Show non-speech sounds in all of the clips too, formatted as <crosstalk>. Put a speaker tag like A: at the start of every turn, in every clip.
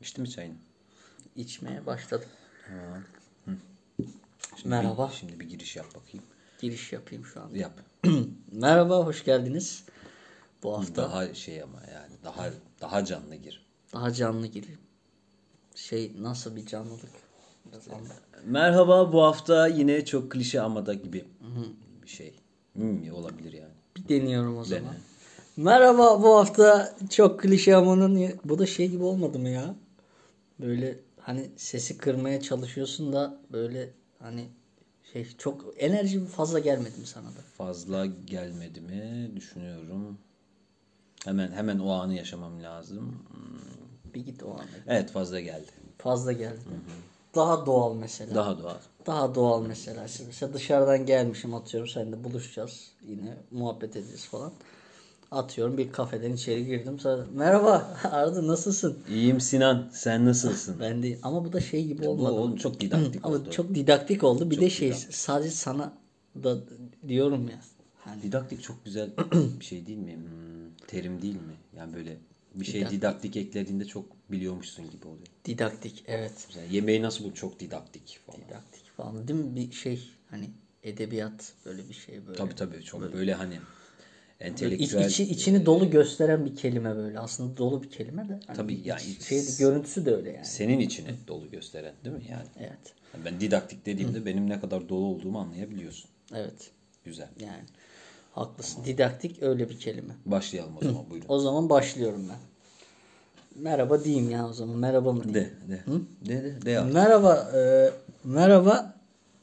A: İçtin mi çayını?
B: İçmeye başladım.
A: Şimdi
B: Merhaba.
A: Bir, şimdi bir giriş yap bakayım.
B: Giriş yapayım şu an.
A: Yap.
B: <clears throat> Merhaba, hoş geldiniz. Bu hafta daha,
A: Daha şey ama yani daha daha canlı gir.
B: canlı gireyim. Şey nasıl bir canlılık? Biraz anlat.
A: Merhaba bu hafta yine çok klişe ama da gibi bir şey. Hmm, olabilir yani.
B: Bir deniyorum o zaman. Merhaba, bu hafta çok klişe amanın... Bu da şey gibi olmadı mı ya? Böyle hani sesi kırmaya çalışıyorsun da böyle hani şey çok enerji fazla gelmedi mi sana da?
A: Fazla gelmedi mi düşünüyorum. Hemen hemen o anı yaşamam lazım. Hmm.
B: Bir git o anda.
A: Evet fazla geldi.
B: Fazla geldi. Daha doğal mesela.
A: Daha doğal.
B: Daha doğal mesela. Şimdi mesela dışarıdan gelmişim atıyorum seninle buluşacağız. Yine muhabbet edeceğiz falan. Atıyorum bir kafeden içeri girdim. Sonra, Merhaba <laughs> Arda nasılsın?
A: İyiyim Sinan. Sen nasılsın?
B: Ben de ama bu da şey gibi
A: Bu
B: olmadı.
A: oğlum çok didaktik
B: ama
A: oldu.
B: çok didaktik oldu. Bir de şey sadece sana da diyorum ya. Hani
A: Didaktik çok
B: <clears throat>
A: güzel bir şey değil mi? Hmm, terim değil mi? Yani böyle bir şey didaktik, eklediğinde çok biliyormuşsun gibi oluyor.
B: didaktik evet.
A: Mesela yemeği nasıl bu çok didaktik falan.
B: Didaktik falan değil mi? Bir şey hani edebiyat böyle bir şey böyle.
A: Tabii tabii çok böyle, hani
B: Böyle iç-
A: entelektüel
B: içi, içini dolu gösteren bir kelime böyle. Aslında dolu bir kelime de. Hani
A: Tabii
B: iç-
A: yani iç-
B: şey, görüntüsü de öyle yani.
A: senin içine dolu gösteren değil mi yani?
B: Evet.
A: Yani Ben didaktik dediğimde benim ne kadar dolu olduğumu anlayabiliyorsun.
B: Evet.
A: Güzel.
B: Yani haklısın. Didaktik öyle bir kelime.
A: Başlayalım o zaman buyurun.
B: O zaman başlıyorum ben. Merhaba diyeyim ya o zaman. Merhaba mı diyeyim?
A: De de. De de de. abi.
B: Merhaba. e, merhaba.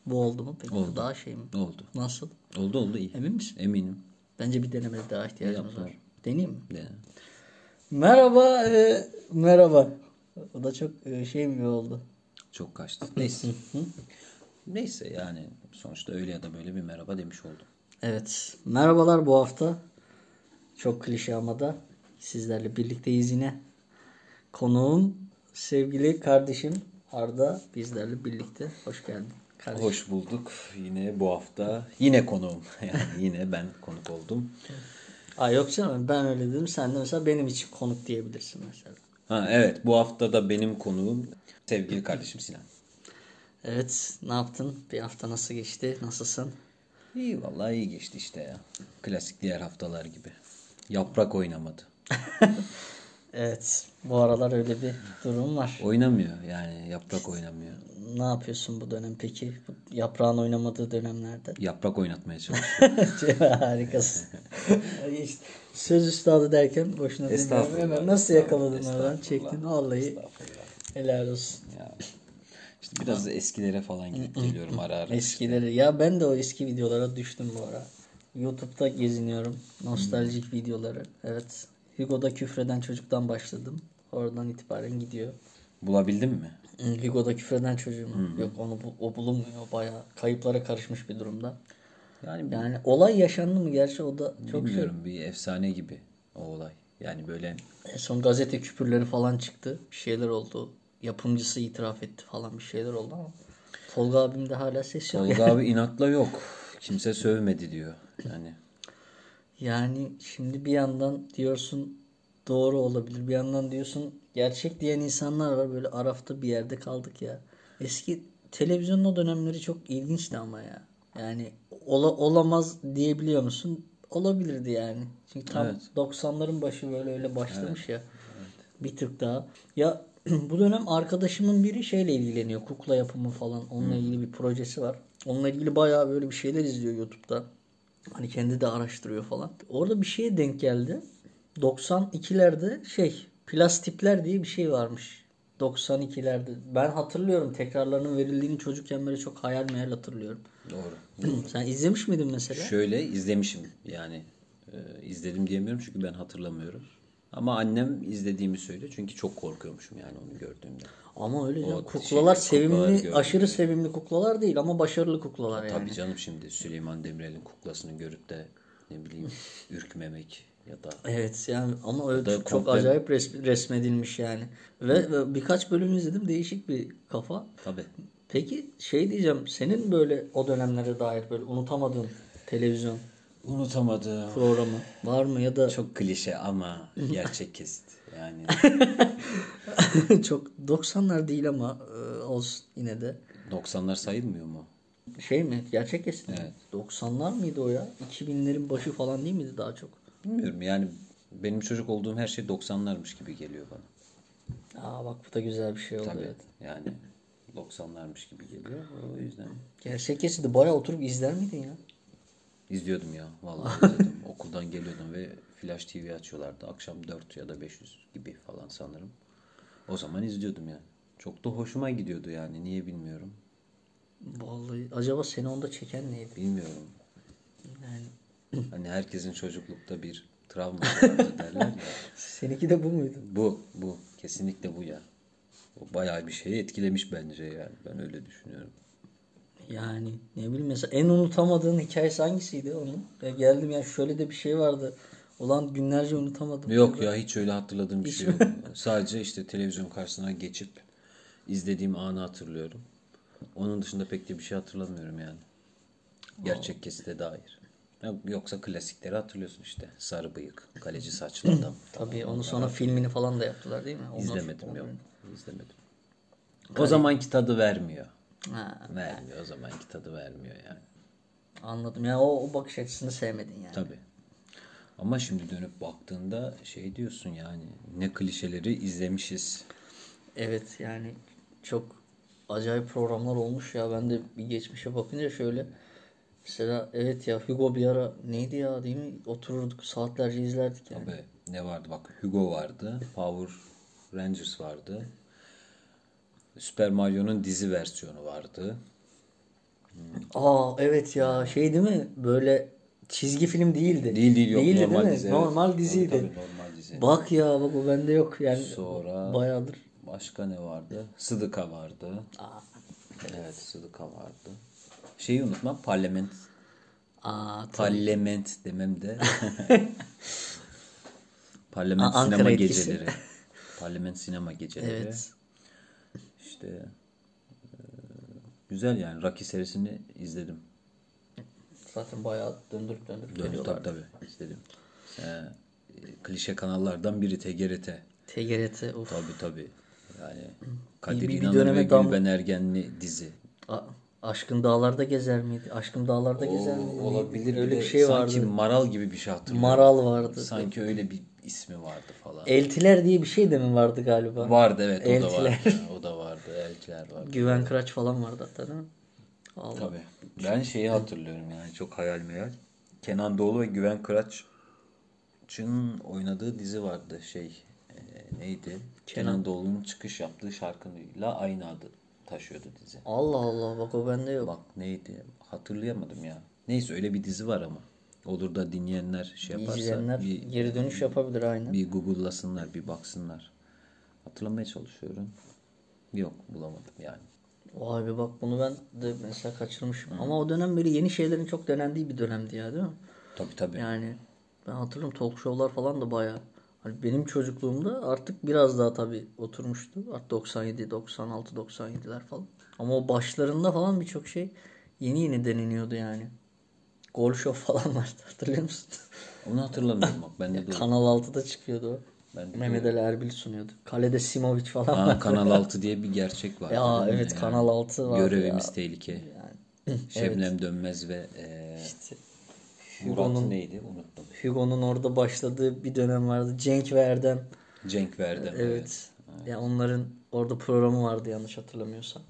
B: Bu oldu mu peki? Bu
A: Oldu.
B: Daha şey mi?
A: Ne oldu?
B: Nasıl?
A: Oldu oldu iyi.
B: Emin misin?
A: Eminim.
B: Bence bir deneme daha ihtiyacımız
A: Yapma.
B: var. Deneyeyim mi?
A: De.
B: Merhaba. e, merhaba. O da çok e, şey mi oldu?
A: Çok kaçtı. Neyse. Neyse yani sonuçta öyle ya da böyle bir merhaba demiş oldum.
B: Evet. Merhabalar bu hafta. Çok klişe ama da sizlerle birlikteyiz yine. Konuğum sevgili kardeşim Arda bizlerle birlikte. Hoş geldin. Kardeşim.
A: Hoş bulduk. Yine bu hafta yine konuğum. <laughs> Yani yine ben konuk oldum.
B: Aa, yok canım ben öyle dedim. Sen de mesela benim için konuk diyebilirsin mesela.
A: Ha evet bu hafta da benim konuğum sevgili kardeşim Sinan.
B: Evet ne yaptın? Bir hafta nasıl geçti? Nasılsın?
A: İyi vallahi iyi geçti işte ya. Klasik diğer haftalar gibi. Yaprak oynamadı.
B: Evet bu aralar öyle bir durum var.
A: Oynamıyor yani yaprak oynamıyor.
B: Ne yapıyorsun bu dönem peki? Bu Yaprağın oynamadığı dönemlerde.
A: Yaprak oynatmaya çalışıyor.
B: <laughs>
A: <laughs>
B: Harikasın. İşte Söz üstadı derken boşuna demiyorum.
A: Estağfurullah,
B: Hemen nasıl
A: estağfurullah,
B: yakaladın oradan çektin. Vallahi helal olsun.
A: ya. İşte biraz da eskilere falan gidip geliyorum ara ara.
B: Eskileri. Ya ben de o eski videolara düştüm bu ara. Youtube'da geziniyorum. Nostaljik videoları. Evet. Hugo'da küfreden çocuktan başladım. Oradan itibaren gidiyor.
A: Bulabildin mi?
B: Hı, Hugo'da küfreden çocuğum. Yok onu bu- o bulunmuyor. Bayağı kayıplara karışmış bir durumda.
A: Yani
B: Yani olay yaşandı mı gerçi o da çok şey.
A: Bilmiyorum bir efsane gibi o olay. Yani böyle
B: En son gazete küpürleri falan çıktı. Bir şeyler oldu. Yapımcısı itiraf etti falan bir şeyler oldu ama Tolga abim de hala ses yok.
A: Tolga abi inatla yok. Kimse sövmedi diyor. Yani
B: Yani şimdi bir yandan diyorsun doğru olabilir. Bir yandan diyorsun gerçek diyen insanlar var. Böyle arafta bir yerde kaldık ya. Eski televizyonun o dönemleri çok ilginçti ama ya. Yani ola, olamaz diyebiliyor musun? Olabilirdi yani. Çünkü tam 90'ların başı böyle öyle başlamış ya. Bir tık daha. Ya <clears throat> bu dönem arkadaşımın biri şeyle ilgileniyor. Kukla yapımı falan. Onunla ilgili bir projesi var. Onunla ilgili bayağı böyle bir şeyler izliyor YouTube'da. Hani kendi de araştırıyor falan. Orada bir şeye denk geldi. 92'lerde şey plastipler diye bir şey varmış. 92'lerde. Ben hatırlıyorum tekrarlarının verildiğini çocukken böyle çok hayal meyal hatırlıyorum. <clears throat>
A: doğru.
B: Sen izlemiş miydin mesela?
A: Şöyle izlemişim yani e, izledim diyemiyorum çünkü ben hatırlamıyorum. Ama annem izlediğimi söylüyor çünkü çok korkuyormuşum yani onu gördüğümde.
B: Ama öyle canım.
A: şey,
B: Kuklalar
A: kuklaları
B: sevimli,
A: gördüm.
B: aşırı sevimli kuklalar değil ama başarılı kuklalar yani.
A: Tabii canım şimdi Süleyman Demirel'in kuklasını görüp de ne bileyim ürkmemek ya da
B: Evet yani ama öyle
A: da
B: çok, çok
A: komple-
B: acayip res- resmedilmiş yani. Ve, ve birkaç bölüm izledim değişik bir kafa.
A: tabii.
B: Peki şey diyeceğim senin böyle o dönemlere dair böyle unutamadığın televizyon
A: Unutamadım.
B: programı var mı ya da çok,
A: Çok klişe ama gerçek kesit. Yani
B: <laughs> çok 90'lar değil ama e, olsun yine de.
A: 90'lar sayılmıyor mu?
B: Şey mi? Gerçek esin. 90'lar mıydı o ya? 2000'lerin başı falan değil miydi daha çok?
A: Bilmiyorum yani benim çocuk olduğum her şey 90'larmış gibi geliyor bana.
B: Aa bak bu da güzel bir şey oldu.
A: Evet.
B: evet.
A: Yani 90'larmış gibi geliyor. O yüzden
B: Gerçek esidi bayağı oturup izler miydin ya?
A: izliyordum ya. Vallahi izliyordum. Okuldan geliyordum ve Flash TV açıyorlardı. Akşam 4 ya da 500 gibi falan sanırım. O zaman izliyordum yani. Çok da hoşuma gidiyordu yani. Niye bilmiyorum.
B: Vallahi acaba seni onda çeken neydi?
A: Bilmiyorum.
B: Yani
A: Hani herkesin çocuklukta bir travması vardır derler ya.
B: seninki de bu muydu?
A: Bu, bu. Kesinlikle bu ya. O bayağı bir şeyi etkilemiş bence yani. Ben öyle düşünüyorum.
B: Yani ne bileyim mesela en unutamadığın hikayesi hangisiydi onun? Ya geldim ya şöyle de bir şey vardı. Ulan günlerce unutamadım.
A: Yok ya hiç öyle hatırladığım bir şey yok. Sadece işte televizyon karşısına geçip izlediğim anı hatırlıyorum. Onun dışında pek de bir şey hatırlamıyorum yani. Gerçek kesite dair. Ya Yoksa klasikleri hatırlıyorsun işte. Sarı bıyık, kaleci saçlı adam.
B: Tabii onu sonra filmini falan da yaptılar değil mi? Ondan
A: İzlemedim
B: sonra-
A: yok. İzlemedim. O zamanki tadı vermiyor.
B: Ha,
A: Vermiyor. O zamanki tadı vermiyor yani.
B: anladım. Ya o, o bakış açısını sevmedin yani.
A: Tabii. Ama şimdi dönüp baktığında şey diyorsun yani ne klişeleri izlemişiz.
B: Evet yani çok acayip programlar olmuş ya. Ben de bir geçmişe bakınca şöyle mesela evet ya Hugo bir ara neydi ya değil mi? Otururduk saatlerce izlerdik yani.
A: Ve ne vardı bak Hugo vardı. Power Rangers vardı. Super Mario'nun dizi versiyonu vardı.
B: Aa evet ya şey değil mi? Böyle çizgi film değildi.
A: Değil değil yok
B: Değildi,
A: normal
B: değil mi?
A: dizi. evet.
B: Normal
A: Tabii,
B: diziydi.
A: Tabii, normal dizi.
B: Bak ya bak o bende yok yani.
A: Sonra-
B: Bayağıdır.
A: Başka ne vardı? Sıdıka vardı. Evet Sıdıka vardı. Şeyi unutma parlament.
B: Aa
A: Parlament demem
B: <laughs>
A: de. parlament
B: Aa, Ankara
A: sinema
B: etkisi.
A: geceleri. parlament sinema geceleri.
B: evet.
A: İşte e, güzel yani Rocky serisini izledim.
B: Zaten bayağı döndürüp döndürüp
A: Tabii tabii,
B: geliyorlar.
A: tabii izledim. Ee, e, klişe kanallardan biri TGRT.
B: TGRT of.
A: Tabii tabii. Yani Kadir
B: bir
A: İnanır
B: döneme
A: ve
B: dam-
A: Gülben Ergenli dizi.
B: A- Aşkın Dağlar'da gezer miydi? Aşkın Dağlar'da gezer miydi?
A: olabilir.
B: e, Öyle
A: de
B: bir şey
A: sanki
B: vardı.
A: Maral gibi bir şey hatırlıyorum.
B: Maral vardı.
A: Sanki öyle bir ismi vardı falan.
B: Eltiler diye bir şey de mi vardı galiba?
A: vardı evet o da
B: Eltiler.
A: vardı. O da vardı. Eltiler vardı.
B: Güven Kıraç falan vardı hatta değil mi? Allah.
A: Tabii. Ben şeyi hatırlıyorum yani çok hayal meyal. Kenan Doğulu ve Güven Kıraç'ın oynadığı dizi vardı şey e, neydi? Kenan, Doğulu'nun çıkış yaptığı şarkıyla aynı adı taşıyordu dizi.
B: Allah Allah bak o bende yok.
A: Bak neydi hatırlayamadım ya. Neyse öyle bir dizi var ama. Olur da dinleyenler şey yaparsa
B: İzleyenler
A: bir,
B: geri dönüş yapabilir aynen.
A: bir google'lasınlar bir baksınlar. Hatırlamaya çalışıyorum. Yok bulamadım yani.
B: Vay be bak bunu ben de mesela kaçırmışım. Ama o dönem böyle yeni şeylerin çok denendiği bir dönemdi ya değil mi?
A: Tabii tabii.
B: Yani ben hatırlıyorum talk show'lar falan da bayağı. Hani benim çocukluğumda artık biraz daha tabii oturmuştu. Artık 97, 96, 97'ler falan. Ama o başlarında falan birçok şey yeni yeni deneniyordu yani. Gol show falan <laughs> vardı hatırlıyor musun?
A: Onu hatırlamıyorum bak
B: <laughs>
A: bende de o-
B: Kanal 6'da çıkıyordu o.
A: Ben de
B: Mehmet Ali Erbil sunuyordu. Kalede Simovic falan
A: Aa,
B: vardı.
A: Kanal 6 diye bir gerçek var.
B: Ya
A: Değil mi?
B: evet Kanal 6 vardı
A: Görevimiz
B: ya.
A: tehlike.
B: Yani
A: <laughs> Şebnem Dönmez ve e,
B: işte
A: Murat neydi? Unuttum.
B: Hugo'nun orada başladığı bir dönem vardı. Cenk ve Erdem.
A: Cenk Verdem.
B: E, Evet. Ya onların orada programı vardı yanlış hatırlamıyorsam.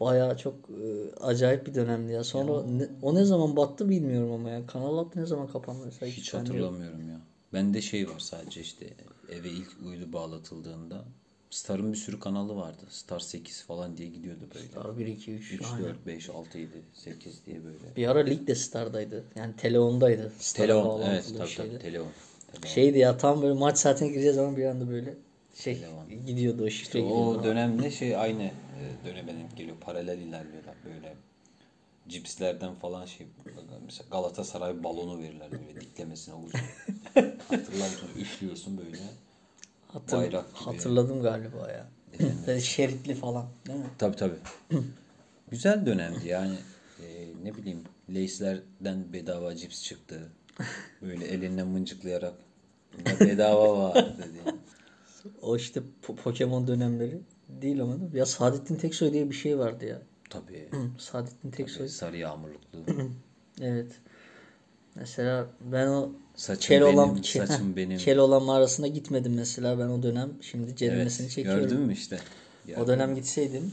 B: Bayağı çok e, acayip bir dönemdi ya. Sonra ne- o ne zaman battı bilmiyorum ama ya. Kanal Alt ne zaman kapandı mesela?
A: Hiç
B: ben de-
A: hatırlamıyorum ya. Bende şey var sadece işte eve ilk uydu bağlatıldığında Star'ın bir sürü kanalı vardı. Star 8 falan diye gidiyordu böyle.
B: Star 1, 2, 3.
A: 3, 4, 5, 6, 7, 8 diye böyle.
B: Bir ara Lig de Star'daydı. Yani Teleon'daydı. Star'a
A: Telon.
B: bağlantılı
A: Evet
B: bir
A: tabii
B: şeydi.
A: tabii. Telon.
B: Şeydi ya tam böyle maç saatine gireceği zaman bir anda böyle şey gidiyordu o şifre gidiyordu.
A: O dönemde şey aynı e, döneme denk geliyor. Paralel ilerliyorlar böyle. Cipslerden falan şey mesela Galatasaray balonu verirler böyle diklemesine uzun.
B: <laughs>
A: Hatırlar mısın? Üflüyorsun böyle.
B: Hatır-
A: bayrak gibi.
B: Hatırladım galiba ya. <laughs> Böyle şeritli falan değil mi?
A: Tabii tabii. Güzel dönemdi yani. E, ne bileyim Leyslerden bedava cips çıktı. Böyle elinle mıncıklayarak "Ya bedava var dedi.
B: <laughs> O işte po- Pokemon dönemleri değil ama değil mi? Ya Saadettin Teksoy diye bir şey vardı ya.
A: Tabii.
B: Saadettin Teksoy.
A: Sarı yağmurluklu.
B: Evet. Mesela ben o
A: Saçım
B: kel
A: benim,
B: olan ke-
A: saçım benim.
B: kel olan mağarasına gitmedim mesela ben o dönem şimdi
A: Evet,
B: ceremesini çekiyorum.
A: gördün mü işte? Ya,
B: O dönem gitseydim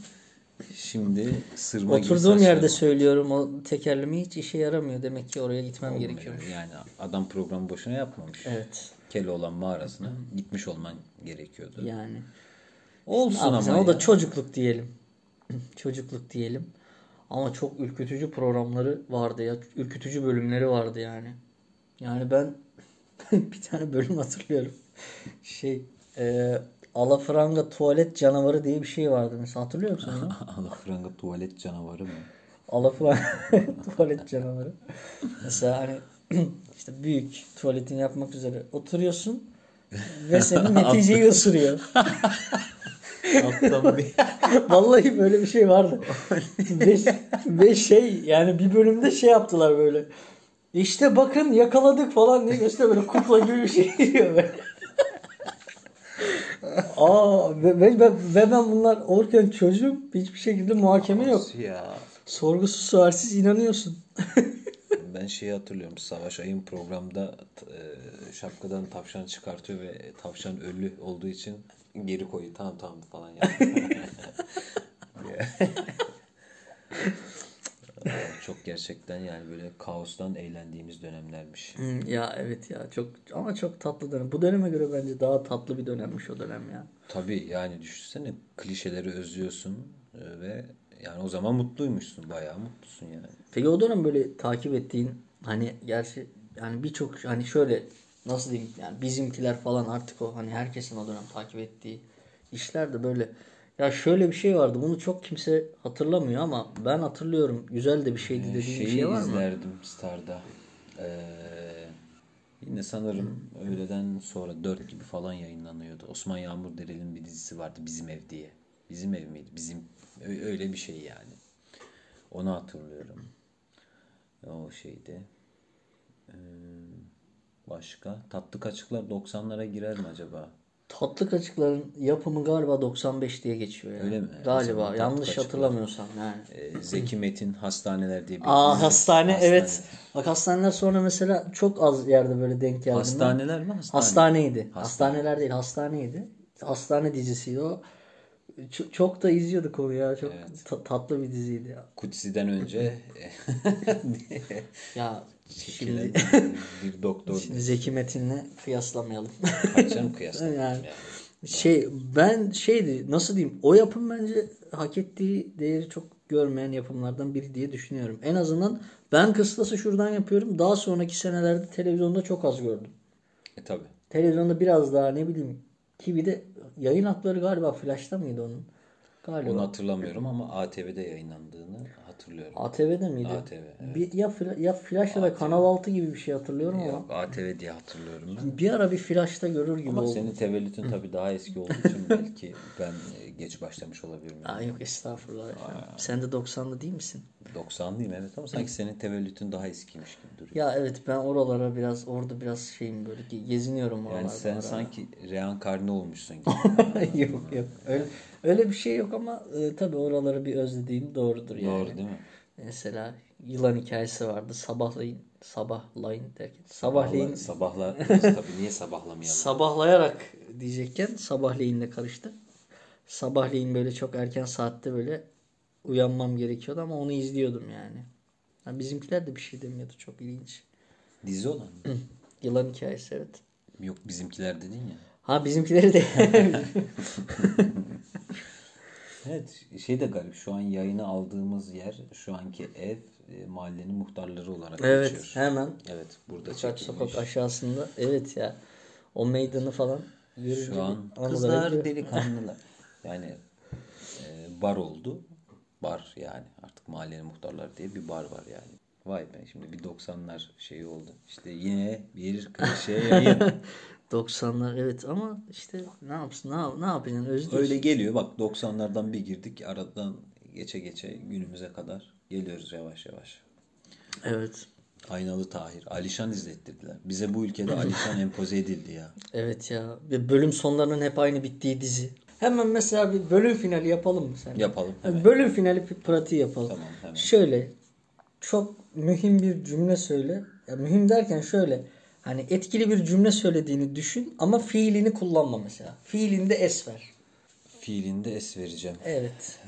A: Şimdi sırma gibi
B: oturduğum yerde
A: saçlarım-
B: söylüyorum o tekerleme hiç işe yaramıyor demek ki oraya gitmem gerekiyor.
A: Yani adam programı boşuna yapmamış.
B: Evet.
A: Keloğlan mağarasına gitmiş olman gerekiyordu.
B: Yani.
A: Olsun
B: Abi sen
A: ama
B: o da
A: ya.
B: çocukluk diyelim. <clears throat> çocukluk diyelim. Ama çok ürkütücü programları vardı ya. Ürkütücü bölümleri vardı yani. Yani ben <laughs> bir tane bölüm hatırlıyorum. Şey e, Alafranga tuvalet canavarı diye bir şey vardı mesela. Hatırlıyor musun
A: <laughs> <laughs>
B: onu?
A: Alafranga tuvalet canavarı mı?
B: Alafranga <laughs> tuvalet canavarı. Mesela hani <clears throat> işte büyük tuvaletini yapmak üzere oturuyorsun
A: <laughs>
B: ve senin neticeyi ısırıyor.
A: Alttan bir...
B: <laughs> Vallahi böyle bir şey vardı. ve, ve şey yani bir bölümde şey yaptılar böyle. İşte bakın yakaladık falan diye işte böyle kukla gibi bir şey geliyor böyle. <laughs> Aa ve, ve, ve- ve ben bunlar olurken çocuğum hiçbir şekilde muhakeme yok.
A: şey ya.
B: Sorgusuz sualsiz inanıyorsun.
A: Ben şeyi hatırlıyorum. Savaş Ay'ın programda t- e, şapkadan tavşan çıkartıyor ve tavşan ölü olduğu için geri koyuyor. Tamam tamam falan yani. Çok gerçekten yani böyle kaostan eğlendiğimiz dönemlermiş.
B: Hmm, Ya evet ya çok ama çok tatlı dönem. Bu döneme göre bence daha tatlı bir dönemmiş o dönem ya.
A: Tabii yani düşünsene klişeleri özlüyorsun e, ve yani o zaman mutluymuşsun. Bayağı mutlusun yani.
B: Peki o dönem böyle takip ettiğin hani gerçi yani birçok hani şöyle nasıl diyeyim yani bizimkiler falan artık o hani herkesin o dönem takip ettiği işler de böyle ya şöyle bir şey vardı bunu çok kimse hatırlamıyor ama ben hatırlıyorum güzel de bir şeydi dediğin
A: Ee, Şeyi
B: bir şey var mı?
A: izlerdim Star'da. Ee, yine sanırım öğleden sonra 4 gibi falan yayınlanıyordu. Osman Yağmur Derel'in bir dizisi vardı Bizim Ev diye. Bizim ev miydi? Bizim ö- öyle bir şey yani. Onu hatırlıyorum. O şeydi. Ee, başka? Tatlı Kaçıklar 90'lara girer mi acaba?
B: Tatlı Kaçıkların yapımı galiba 95 diye geçiyor ya.
A: Öyle mi? O zaman
B: Galiba
A: Tatlı
B: yanlış
A: Kaçıklar.
B: hatırlamıyorsam yani.
A: Ee, Zeki Metin Hastaneler diye bir
B: Aa
A: dizi.
B: hastane, evet. Bak hastaneler sonra mesela çok az yerde böyle denk geldim. ben.
A: Hastaneler mi? Hastane.
B: Hastaneydi. Hastaneler değil, hastaneydi. Hastane dizisiydi o. Ç- çok da izliyorduk onu ya. Çok ta- tatlı bir diziydi ya.
A: Kutsi'den önce e,
B: Ya şimdi,
A: Şimdi
B: <laughs>
A: bir doktor
B: şimdi Zeki Metin'le kıyaslamayalım.
A: kaçacağım kıyaslamam yani.
B: Yani. şey ben şeydi nasıl diyeyim o yapım bence hak ettiği değeri çok görmeyen yapımlardan biri diye düşünüyorum. En azından ben kıstası şuradan yapıyorum. Daha sonraki senelerde televizyonda çok az gördüm.
A: E tabi.
B: Televizyonda biraz daha ne bileyim TV'de yayın hakları galiba Flash'ta mıydı onun? Galiba.
A: Onu hatırlamıyorum ama ATV'de yayınlandığını hatırlıyorum.
B: ATV'de miydi?
A: ATV, evet.
B: Bir, ya, Fla- ya Flash ya da Kanal 6 gibi bir şey hatırlıyorum ama.
A: Yok ATV diye hatırlıyorum ben.
B: Bir ara bir Flash'ta görür gibi
A: Ama
B: oldum.
A: senin tevellütün tabi daha eski olduğu için belki ben e, geç başlamış olabilirim.
B: Aa, yok estağfurullah efendim. Sen de 90'lı değil misin?
A: 90'lıyım evet ama sanki senin tevellütün daha eskiymiş gibi duruyor.
B: Ya evet ben oralara biraz orada biraz şeyim böyle ge- geziniyorum oralarda.
A: Yani sen
B: ara.
A: sanki reenkarne olmuşsun
B: <laughs>
A: gibi.
B: yok yok öyle, öyle bir şey yok ama e, tabii oraları bir özlediğin doğrudur yani.
A: Doğru değil mi?
B: Mesela yılan hikayesi vardı. Sabahlayın, sabahlayın derken. Sabahleyin,
A: Sabahla, tabii niye sabahlamayalım?
B: sabahlayarak diyecekken sabahleyinle karıştı. Sabahleyin böyle çok erken saatte böyle uyanmam gerekiyordu ama onu izliyordum yani. Ha, bizimkiler de bir şey demiyordu çok ilginç.
A: Dizi olan mı?
B: Yılan hikayesi evet.
A: Yok bizimkiler dedin ya.
B: Ha
A: <laughs>
B: bizimkileri de
A: Evet şey de garip şu an yayını aldığımız yer şu anki ev e, mahallenin muhtarları olarak
B: evet
A: geçiyor.
B: hemen
A: Evet burada
B: birkaç
A: çekilmiş.
B: sokak aşağısında evet ya o meydanı falan görünce bir
A: Şu an
B: anılara
A: kızlar
B: giriyor.
A: delikanlılar. yani e, bar oldu. Bar yani artık mahallenin muhtarları diye bir bar var yani. Vay be şimdi bir 90'lar şeyi oldu. İşte yine bir klişe yayın.
B: 90'lar evet ama işte ne yapsın ne, yap, ne yapacaksın özlüyorsun.
A: Öyle geliyor bak 90'lardan bir girdik aradan geçe geçe günümüze kadar geliyoruz yavaş yavaş.
B: Evet.
A: Aynalı Tahir. Alişan izlettirdiler. Bize bu ülkede
B: <laughs>
A: Alişan empoze edildi ya.
B: Evet ya. Ve bölüm sonlarının hep aynı bittiği dizi. Hemen mesela bir bölüm finali yapalım mı sen?
A: Yapalım.
B: Yani
A: hemen.
B: Bölüm finali p- pratiği yapalım.
A: Tamam, hemen.
B: Şöyle çok mühim bir cümle söyle. Ya mühim derken şöyle hani etkili bir cümle söylediğini düşün ama fiilini kullanma mesela. Fiilinde es ver.
A: Fiilinde es vereceğim.
B: Evet.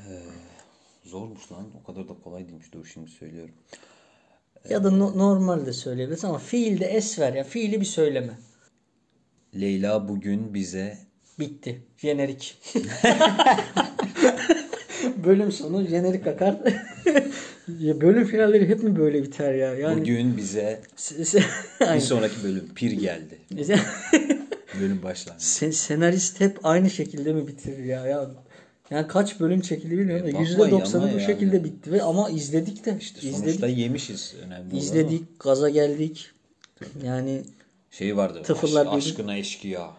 A: Zormuş lan. O kadar da kolay değilmiş. Dur şimdi söylüyorum.
B: Ya da no- normal de söyleyebilirsin ama fiilde es ver ya. Fiili bir söyleme.
A: Leyla bugün bize
B: Bitti. Jenerik. <laughs> Bölüm sonu jenerik akar. <laughs> Ya Bölüm finalleri hep mi böyle biter ya? Yani
A: bugün bize
B: S- <laughs> s-
A: bir
B: Aynen.
A: sonraki bölüm pir geldi. Bölüm başlandı.
B: <laughs> Sen- senarist hep aynı şekilde mi bitirir ya? ya yani kaç bölüm çekildi bilmiyorum.
A: E,
B: da
A: bakmayın
B: %90'ı
A: ama
B: bu
A: yani.
B: şekilde bitti ve ama izledik de işte izledik.
A: Sonuçta yemişiz. Önemli olan o.
B: izledik, gaza geldik. Yani
A: Şey vardı.
B: Tıfırlar
A: aş-
B: Birliği.
A: aşkına eşkıya.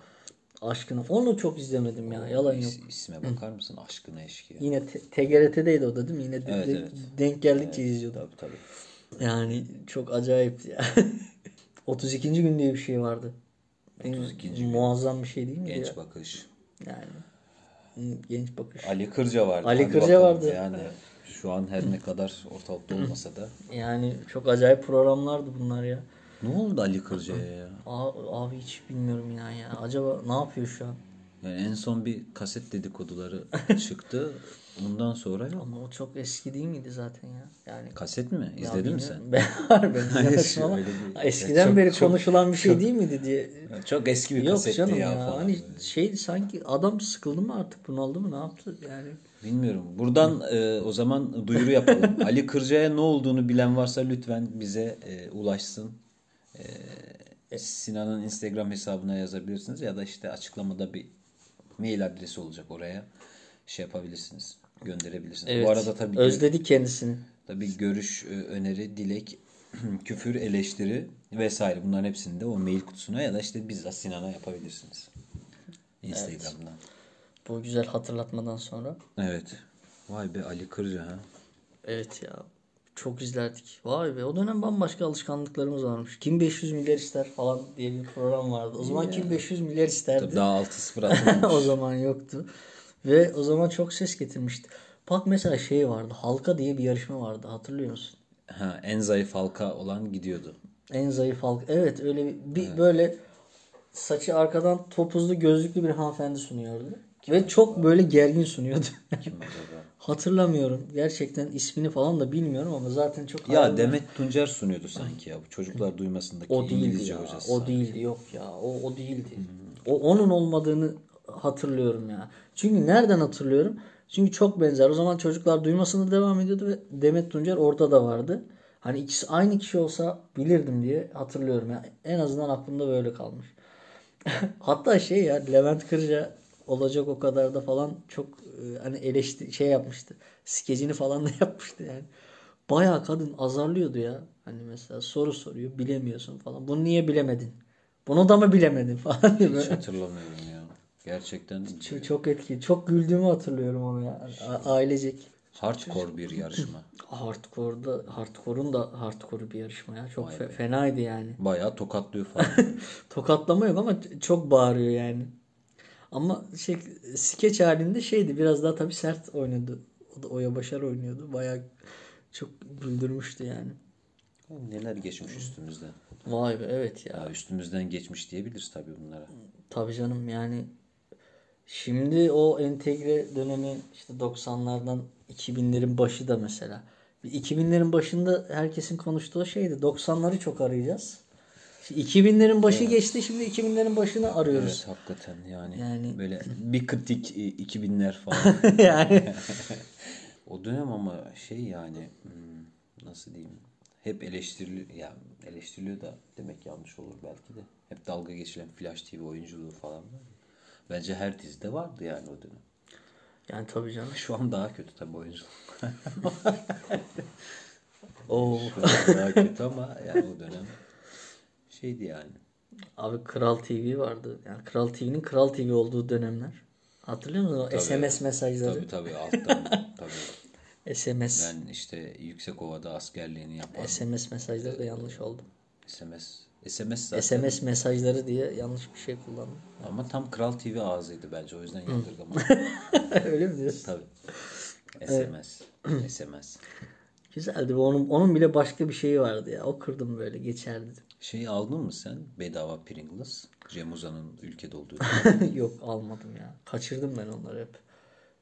B: aşkına onu çok izlemedim ya. Yalan yok.
A: İs- isme bakar mısın? Aşkına eşkıya.
B: Yine te- TGRT'deydi o da değil mi? Yine de-
A: Evet,
B: de-
A: evet.
B: denk geldikçe izliyordum.
A: Tabii tabii.
B: Yani çok acayip ya. <laughs> 32. gün diye bir şey vardı. Değil mi?
A: 32. gün.
B: Muazzam bir şey değil mi?
A: Genç
B: ya?
A: bakış.
B: Yani. Hı, Genç bakış.
A: Ali Kırca vardı.
B: Ali
A: Hadi
B: Kırca
A: bakalım
B: vardı.
A: Yani şu an her ne kadar ortalıkta olmasa da.
B: Yani çok acayip programlardı bunlar ya.
A: Ne oldu Ali Kırca'ya ya?
B: Abi, abi hiç bilmiyorum ya ya. Acaba ne yapıyor şu an?
A: Yani en son bir kaset
B: <laughs>
A: dedikoduları çıktı. Ondan sonra yok.
B: Ama o çok eski değil miydi zaten ya? Yani
A: Kaset mi? İzledin mi sen?
B: bilmiyorum. <laughs> Ben, ben izlemedim ama
A: öyle değil.
B: eskiden
A: Çok-
B: beri
A: çok-
B: konuşulan bir şey değil miydi diye.
A: Çok eski bir
B: Yok
A: kasetti
B: canım
A: ya,
B: ya.
A: falan.
B: Hani şey sanki adam sıkıldı mı artık bunaldı mı ne yaptı yani?
A: Bilmiyorum. Buradan e, o zaman duyuru
B: <laughs>
A: yapalım. Ali Kırca'ya ne olduğunu bilen varsa lütfen bize e, ulaşsın. E, Sinan'ın Instagram hesabına yazabilirsiniz ya da işte açıklamada bir mail adresi olacak oraya şey yapabilirsiniz. Gönderebilirsiniz. Bu arada tabii ki-
B: özledi kendisini.
A: Tabii görüş, e, öneri, dilek, <clears throat> küfür, eleştiri vesaire bunların hepsini de o mail kutusuna ya da işte bizzat Sinan'a yapabilirsiniz. Instagram'dan.
B: Bu güzel hatırlatmadan sonra.
A: Evet. Vay be Ali Kırca ha.
B: Evet ya. Çok izlerdik. Vay be o dönem bambaşka alışkanlıklarımız varmış. Kim 500 milyar ister falan diye bir program vardı. O zaman kim 500 milyar
A: Tabii
B: isterdi.
A: daha 6-0 <laughs> atılmamış.
B: <laughs> o zaman yoktu. Ve o zaman çok ses getirmişti. Bak mesela şey vardı. Halka diye bir yarışma vardı. Hatırlıyor musun?
A: ha, en zayıf halka olan gidiyordu.
B: En zayıf halk. Evet öyle bir, bir böyle saçı arkadan topuzlu gözlüklü bir hanımefendi sunuyordu. Ve çok böyle gergin sunuyordu.
A: Kim acaba?
B: <laughs> Hatırlamıyorum. Gerçekten ismini falan da bilmiyorum ama zaten çok
A: ya
B: hayal-
A: Demet Tuncer sunuyordu sanki ya. Bu çocuklar duymasındaki
B: o değildi
A: İngilizce
B: ya.
A: hocası.
B: O değildi yok ya. O o değildi. O onun olmadığını hatırlıyorum ya. Çünkü nereden hatırlıyorum? Çünkü çok benzer. O zaman çocuklar duymasında devam ediyordu ve Demet Tuncer orada da vardı. Hani ikisi aynı kişi olsa bilirdim diye hatırlıyorum ya. En azından aklımda böyle kalmış. <laughs> Hatta şey ya Levent Kırca olacak o kadar da falan çok e, hani eleşti şey yapmıştı. Skecini falan <laughs> da yapmıştı yani. Bayağı kadın azarlıyordu ya. Hani mesela soru soruyor bilemiyorsun falan. Bunu niye bilemedin? Bunu da mı bilemedin <laughs> falan diye
A: Hiç
B: böyle.
A: hatırlamıyorum ya. Gerçekten
B: Çok, çok etkili. Çok güldüğümü hatırlıyorum ona ya. A- ailecek.
A: hardcore bir <laughs> yarışma.
B: Hardcore'da, hardcore'un da hardcore'u bir yarışma ya. Çok fe- fenaydı yani.
A: Bayağı tokatlıyor falan. <laughs>
B: Tokatlama yok ama ç- çok bağırıyor yani. Ama şey skeç halinde şeydi biraz daha tabii sert oynadı. O da Oya Başar oynuyordu. Bayağı çok güldürmüştü yani.
A: Neler geçmiş üstümüzden.
B: Vay be evet ya.
A: Ya üstümüzden geçmiş diyebiliriz tabii bunlara.
B: Tabii canım yani şimdi o entegre dönemi işte 90'lardan 2000'lerin başı da mesela. Bir 2000'lerin başında herkesin konuştuğu şeydi 90'ları çok arayacağız. Şimdi 2000'lerin başı geçti şimdi 2000'lerin başını arıyoruz.
A: Evet hakikaten yani.
B: Yani-
A: Böyle bir kritik e, 2000'ler falan.
B: <laughs> yani
A: o dönem ama şey yani hmm, nasıl diyeyim hep eleştiriliyor ya eleştiriliyor da demek yanlış olur belki de. Hep dalga geçilen Flash TV oyunculuğu falan var. ya. Bence her dizide vardı yani o dönem.
B: yani tabii canım.
A: Şu an daha kötü tabii <laughs> oyunculuk.
B: Oo.
A: Şu an daha kötü ama yani o dönem şeydi yani.
B: Abi Kral TV vardı. Yani Kral TV'nin Kral TV olduğu dönemler. Hatırlıyor musun o SMS mesajları?
A: Tabii tabii alttan tabii.
B: SMS.
A: Ben işte Yüksekova'da askerliğini yapan
B: SMS mesajları da yanlış oldu.
A: SMS. SMS zaten.
B: SMS mesajları diye yanlış bir şey kullandım.
A: Ama tam Kral TV ağzıydı bence. O yüzden yadırgamadım.
B: Öyle mi diyorsun?
A: Tabii. SMS. SMS.
B: Güzeldi. bu. Onun, onun bile başka bir şeyi vardı ya. O kırdım böyle geçerdi.
A: Şeyi aldın mı sen? Bedava Pringles. Cem Uzan'ın ülkede olduğu.
B: <laughs> Yok almadım ya. Kaçırdım ben onları hep.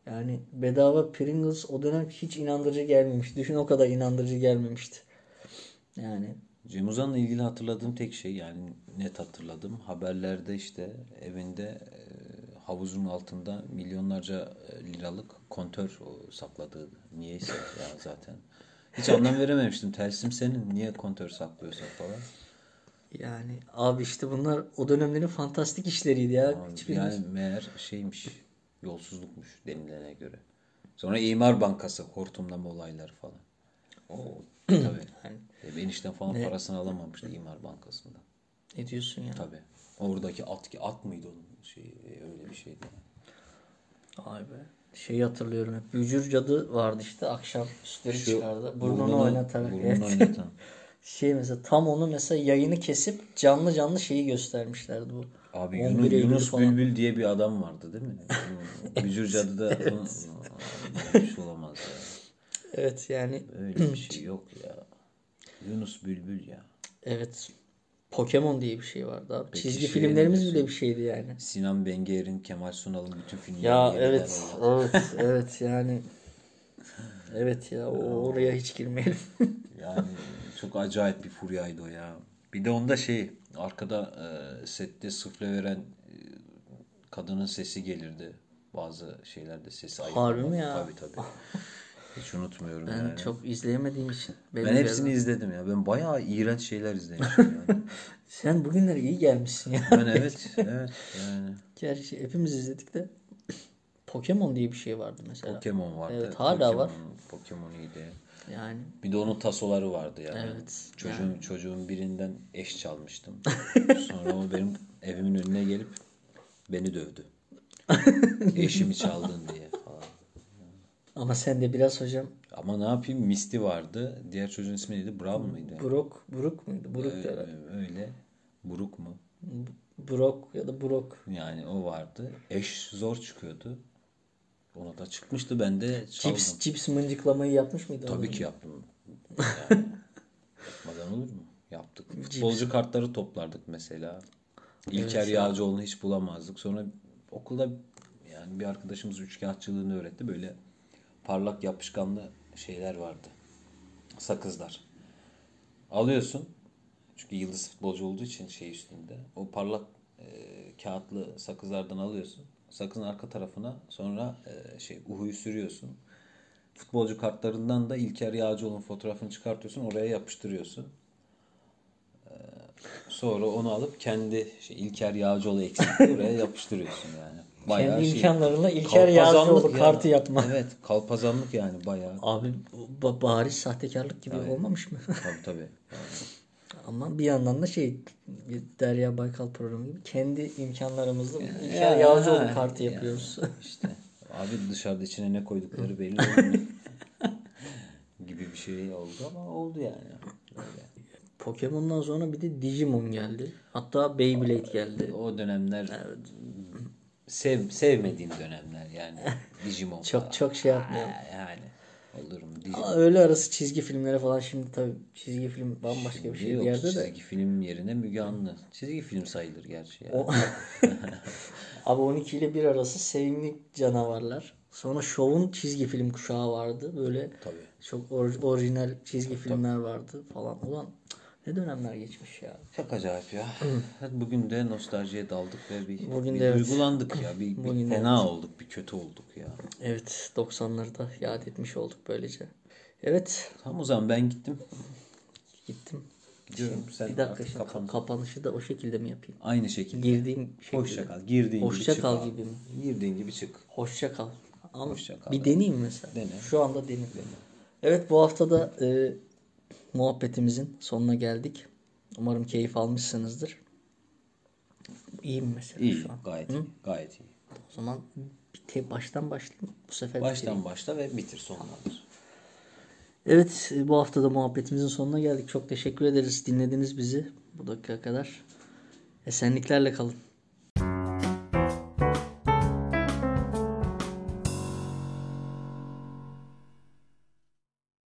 B: Yani bedava Pringles o dönem hiç inandırıcı gelmemişti. Düşün o kadar inandırıcı gelmemişti. Yani
A: Cem Uzan'la ilgili hatırladığım tek şey yani net hatırladım. Haberlerde işte evinde e, havuzun altında milyonlarca e, liralık kontör o, sakladığı niyeyse ya zaten. Hiç anlam verememiştim. Tersim senin. Niye kontör saklıyorsun falan.
B: yani abi işte bunlar o dönemlerin fantastik işleriydi ya.
A: Ama
B: Hiçbirimiz
A: Yani meğer şeymiş. Yolsuzlukmuş denilene göre. Sonra İmar Bankası hortumlama olayları falan. Oo. Tabii.
B: <clears throat>
A: E, Enişten falan parasını alamamıştı İmar Bankası'nda.
B: ne diyorsun ya?
A: Tabii. Oradaki at ki at mıydı onun şeyi E, öyle bir şeydi.
B: Vay be. Şeyi hatırlıyorum hep. Bücür cadı vardı işte akşam üstleri çıkardı. Burnunu, oynatarak.
A: Burnunu
B: evet.
A: oynatan.
B: <laughs> şey mesela tam onu mesela yayını kesip canlı canlı şeyi göstermişlerdi bu.
A: Abi
B: 11
A: Yunus,
B: Eylül'ü
A: Yunus
B: falan.
A: Bülbül diye bir adam vardı değil
B: <laughs>
A: mi? Bücür Cadı'da Aa, bir şey olamaz ya.
B: Evet yani
A: Öyle bir şey yok ya. Yunus Bülbül ya.
B: evet Pokemon diye bir şey vardı abi. Çizgi
A: şey
B: filmlerimiz bile bir şeydi yani.
A: Sinan Benger'in, Kemal Sunal'ın bütün filmleri
B: Ya
A: yeniden
B: evet
A: oynadı.
B: evet evet yani evet ya o- oraya hiç girmeyelim.
A: Yani çok acayip bir furyaydı o ya. Bir de onda şey arkada e, sette sıfle veren e, kadının sesi gelirdi. Bazı şeylerde sesi
B: Harbi mi
A: ayıramam.
B: ya?
A: Tabii tabii. Hiç unutmuyorum
B: Ben
A: yani.
B: çok izleyemediğim için. benim
A: Ben
B: de-
A: hepsini izledim ya. Ben bayağı iğrenç şeyler izlemişim
B: <laughs>
A: yani.
B: Sen bugünlere iyi gelmişsin ya. <laughs>
A: Ben evet, evet yani.
B: Gerçi hepimiz izledik de. Pokemon diye bir şey vardı mesela.
A: Pokemon vardı.
B: Evet, hala var.
A: Pokemon- Pokemon iyiydi.
B: Yani
A: Bir de onun tasoları vardı yani.
B: Evet,
A: Çocuğun, çocuğun birinden eş çalmıştım. Sonra o benim evimin önüne gelip beni dövdü. Eşimi çaldın diye falan.
B: ama sen de biraz hocam
A: Ama ne yapayım Misty vardı. Diğer çocuğun ismi neydi? Brown mıydı?
B: Brock, Brook muydu? Brook diyorlar.
A: Ee, Öyle. Buruk mu?
B: Brock ya da Brock.
A: Yani o vardı. Eş zor çıkıyordu. Ona da çıkmıştı. Ben de çaldım.
B: Cips, cips mıncıklamayı yapmış mıydı?
A: Tabii ki yaptım. <laughs> Yani. Ee, Yapmadan olur mu? Yaptık. Futbolcu kartları toplardık mesela. İlker Yağcıoğlu'nu hiç bulamazdık. Sonra okulda yani bir arkadaşımız üçkağıtçılığını öğretti. Böyle parlak yapışkanlı şeyler vardı. Sakızlar. Alıyorsun. Çünkü yıldız futbolcu olduğu için şey üstünde. O parlak e, kağıtlı sakızlardan alıyorsun. Sakızın arka tarafına sonra e, şey uhuyu sürüyorsun. Futbolcu kartlarından da İlker Yağcıoğlu'nun fotoğrafını çıkartıyorsun. Oraya yapıştırıyorsun. E, sonra onu alıp kendi şey, İlker Yağcıoğlu eksikliği oraya yapıştırıyorsun yani.
B: Kendi
A: şey-
B: imkanlarıyla İlker Yağcıoğlu
A: kalpazanlık ya.
B: kartı yapma.
A: Evet kalpazanlık yani bayağı.
B: Abi bu ba- bariz sahtekarlık gibi olmamış mı?
A: Tabii tabii.
B: Ama bir yandan da şey bir Derya Baykal programı gibi kendi imkanlarımızla İlker
A: Ya,
B: Yağcıoğlu
A: ha,
B: kartı yapıyoruz.
A: İşte abi dışarıda içine ne koydukları
B: <laughs>
A: belli olmuyor. gibi bir şey oldu ama oldu yani. Öyle.
B: Pokemon'dan sonra bir de Digimon geldi. Hatta Beyblade geldi.
A: O dönemler sev, sevmediğim dönemler yani. Digimon
B: Çok
A: falan.
B: çok şey yapmayalım.
A: Ha, yani. Olur mu? Digimon.
B: Ama öyle arası çizgi filmlere falan şimdi tabii çizgi film bambaşka bir şey bir
A: Yok,
B: yerde de.
A: çizgi film yerine Müge Anlı. Çizgi film sayılır gerçi yani.
B: <laughs> Abi 12 ile 1 arası sevimli canavarlar. Sonra şovun çizgi film kuşağı vardı. Böyle
A: Tabii.
B: çok or- orijinal çizgi filmler vardı falan. Ulan ne dönemler geçmiş ya.
A: Çok acayip ya. Hadi bugün de nostaljiye daldık ve bir,
B: Bugün
A: bir
B: de evet.
A: duygulandık ya. Bir, bir
B: Bugün de
A: fena olduk, bir kötü olduk ya.
B: Evet 90'ları da yad etmiş olduk böylece. Evet
A: Tamam o zaman ben gittim.
B: gittim.
A: Gidiyorum. Sen
B: bir dakika
A: artık
B: şimdi
A: kapan.
B: kapanışı da o şekilde mi yapayım?
A: Aynı şekilde.
B: Girdiğim şekilde.
A: Hoşça kal. Girdiğin
B: Hoşça
A: gibi
B: kal
A: çık.
B: gibi mi?
A: abi. Girdiğin gibi çık.
B: Hoşça kal. Ama
A: Hoşça kal,
B: Bir
A: evet.
B: deneyeyim mesela.
A: Dene.
B: Şu anda deneyim. Evet bu hafta da e, muhabbetimizin sonuna geldik. Umarım keyif almışsınızdır. İyiyim mesela
A: İyi.
B: şu an.
A: Gayet iyi. Gayet iyi.
B: O zaman bir te- baştan başlayayım. Bu sefer bitireyim.
A: Baştan başla ve bitir sonlandır.
B: Evet bu hafta da muhabbetimizin sonuna geldik. Çok teşekkür ederiz dinlediniz bizi bu dakika kadar. Esenliklerle kalın.